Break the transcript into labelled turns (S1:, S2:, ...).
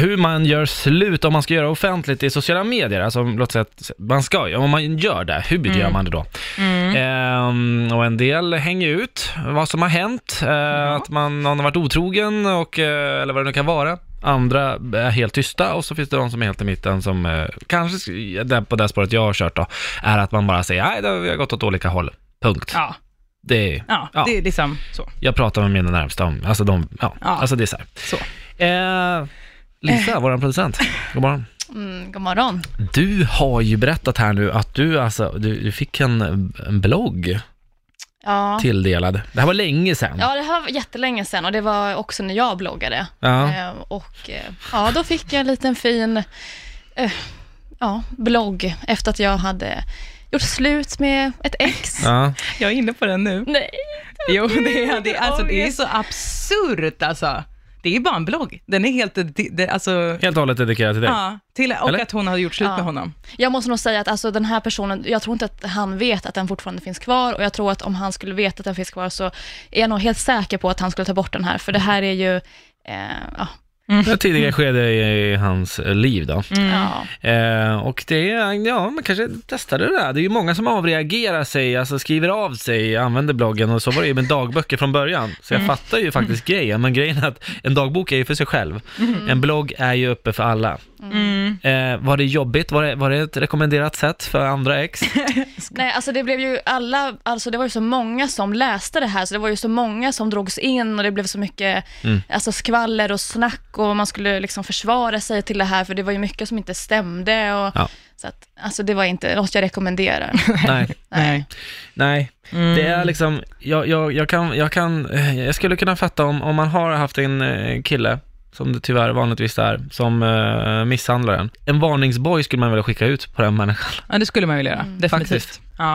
S1: hur man gör slut, om man ska göra offentligt i sociala medier, alltså låt säga att man ska, om man gör det,
S2: Mm.
S1: hur gör man det då? Ehm, och en del hänger ut vad som har hänt, eh,
S2: Mm.
S1: att man, någon har varit otrogen och, eh, eller vad det nu kan vara. Andra är helt tysta och så finns det de som är helt i mitten som eh, kanske, sk- där- på det spåret jag har kört då, är att man bara säger nej, det har- vi har gått åt olika håll. Punkt.
S2: Ja,
S1: Det är,
S2: ja,
S1: Ja.
S2: det är liksom så.
S1: jag pratar med mina närmsta om, alltså de, ja,
S2: Ja.
S1: alltså det är så här.
S2: så.
S1: Eh, Lisa, vår producent, god morgon.
S3: Mm, god morgon.
S1: Du har ju berättat här nu att du, alltså, du, du fick en, en blogg
S3: Ja.
S1: tilldelad. Det här var länge sedan.
S3: ja, det här var jättelänge sedan och det var också när jag bloggade.
S1: Ja.
S3: Eh, och eh, ja, då fick jag en liten fin eh, ja, blogg efter att jag hade gjort slut med ett ex.
S1: Ja.
S2: Jag är inne på den nu.
S3: Nej,
S2: Jo, det är, det, är- alltså,
S3: Jag
S2: det är
S3: vet.
S2: så absurt alltså. Det är bara en blogg. Den är helt, det, det, alltså,
S1: Helt och hållet dedikerad till dig.
S2: ja, till, och
S1: Eller?
S2: att hon hade gjort slut
S3: Ja.
S2: med honom.
S3: Jag måste nog säga att alltså, den här personen, jag tror inte att han vet att den fortfarande finns kvar och jag tror att om han skulle veta att den finns kvar så är jag nog helt säker på att han skulle ta bort den här, för det här är ju eh, ja,
S1: Ett tidigare skede i hans liv då.
S3: Mm. ja,
S1: Eh, och det, är- ja, man kanske testade det där. Det är ju många som avreagerar sig, alltså skriver av sig, använder bloggen och så var det ju med dagböcker från början. Så jag fattar ju faktiskt grejen, men grejen är att en dagbok är ju för sig själv. En blogg är ju uppe för alla.
S2: Mm.
S1: Eh, var det jobbigt? Var det, var det ett rekommenderat sätt för andra ex?
S3: Nej, alltså det blev ju alla, alltså det var ju så många som läste det här, så det var ju så många som drogs in och det blev så mycket alltså skvaller och snack och man skulle liksom försvara sig till det här, för det var ju mycket som inte stämde och
S1: Ja.
S3: så att, alltså det var inte något jag rekommenderar.
S1: Nej.
S2: Nej. Mm.
S1: Nej, det är liksom, jag, jag, jag, kan, jag, kan, eh, jag skulle kunna fatta om, om man har haft en eh, kille, som det tyvärr vanligtvis är, som eh, misshandlar en. En varningsboj skulle man vilja skicka ut på den människan.
S2: Mm. Ja, det skulle man vilja göra. Definitivt.
S1: Faktiskt.
S2: Ja.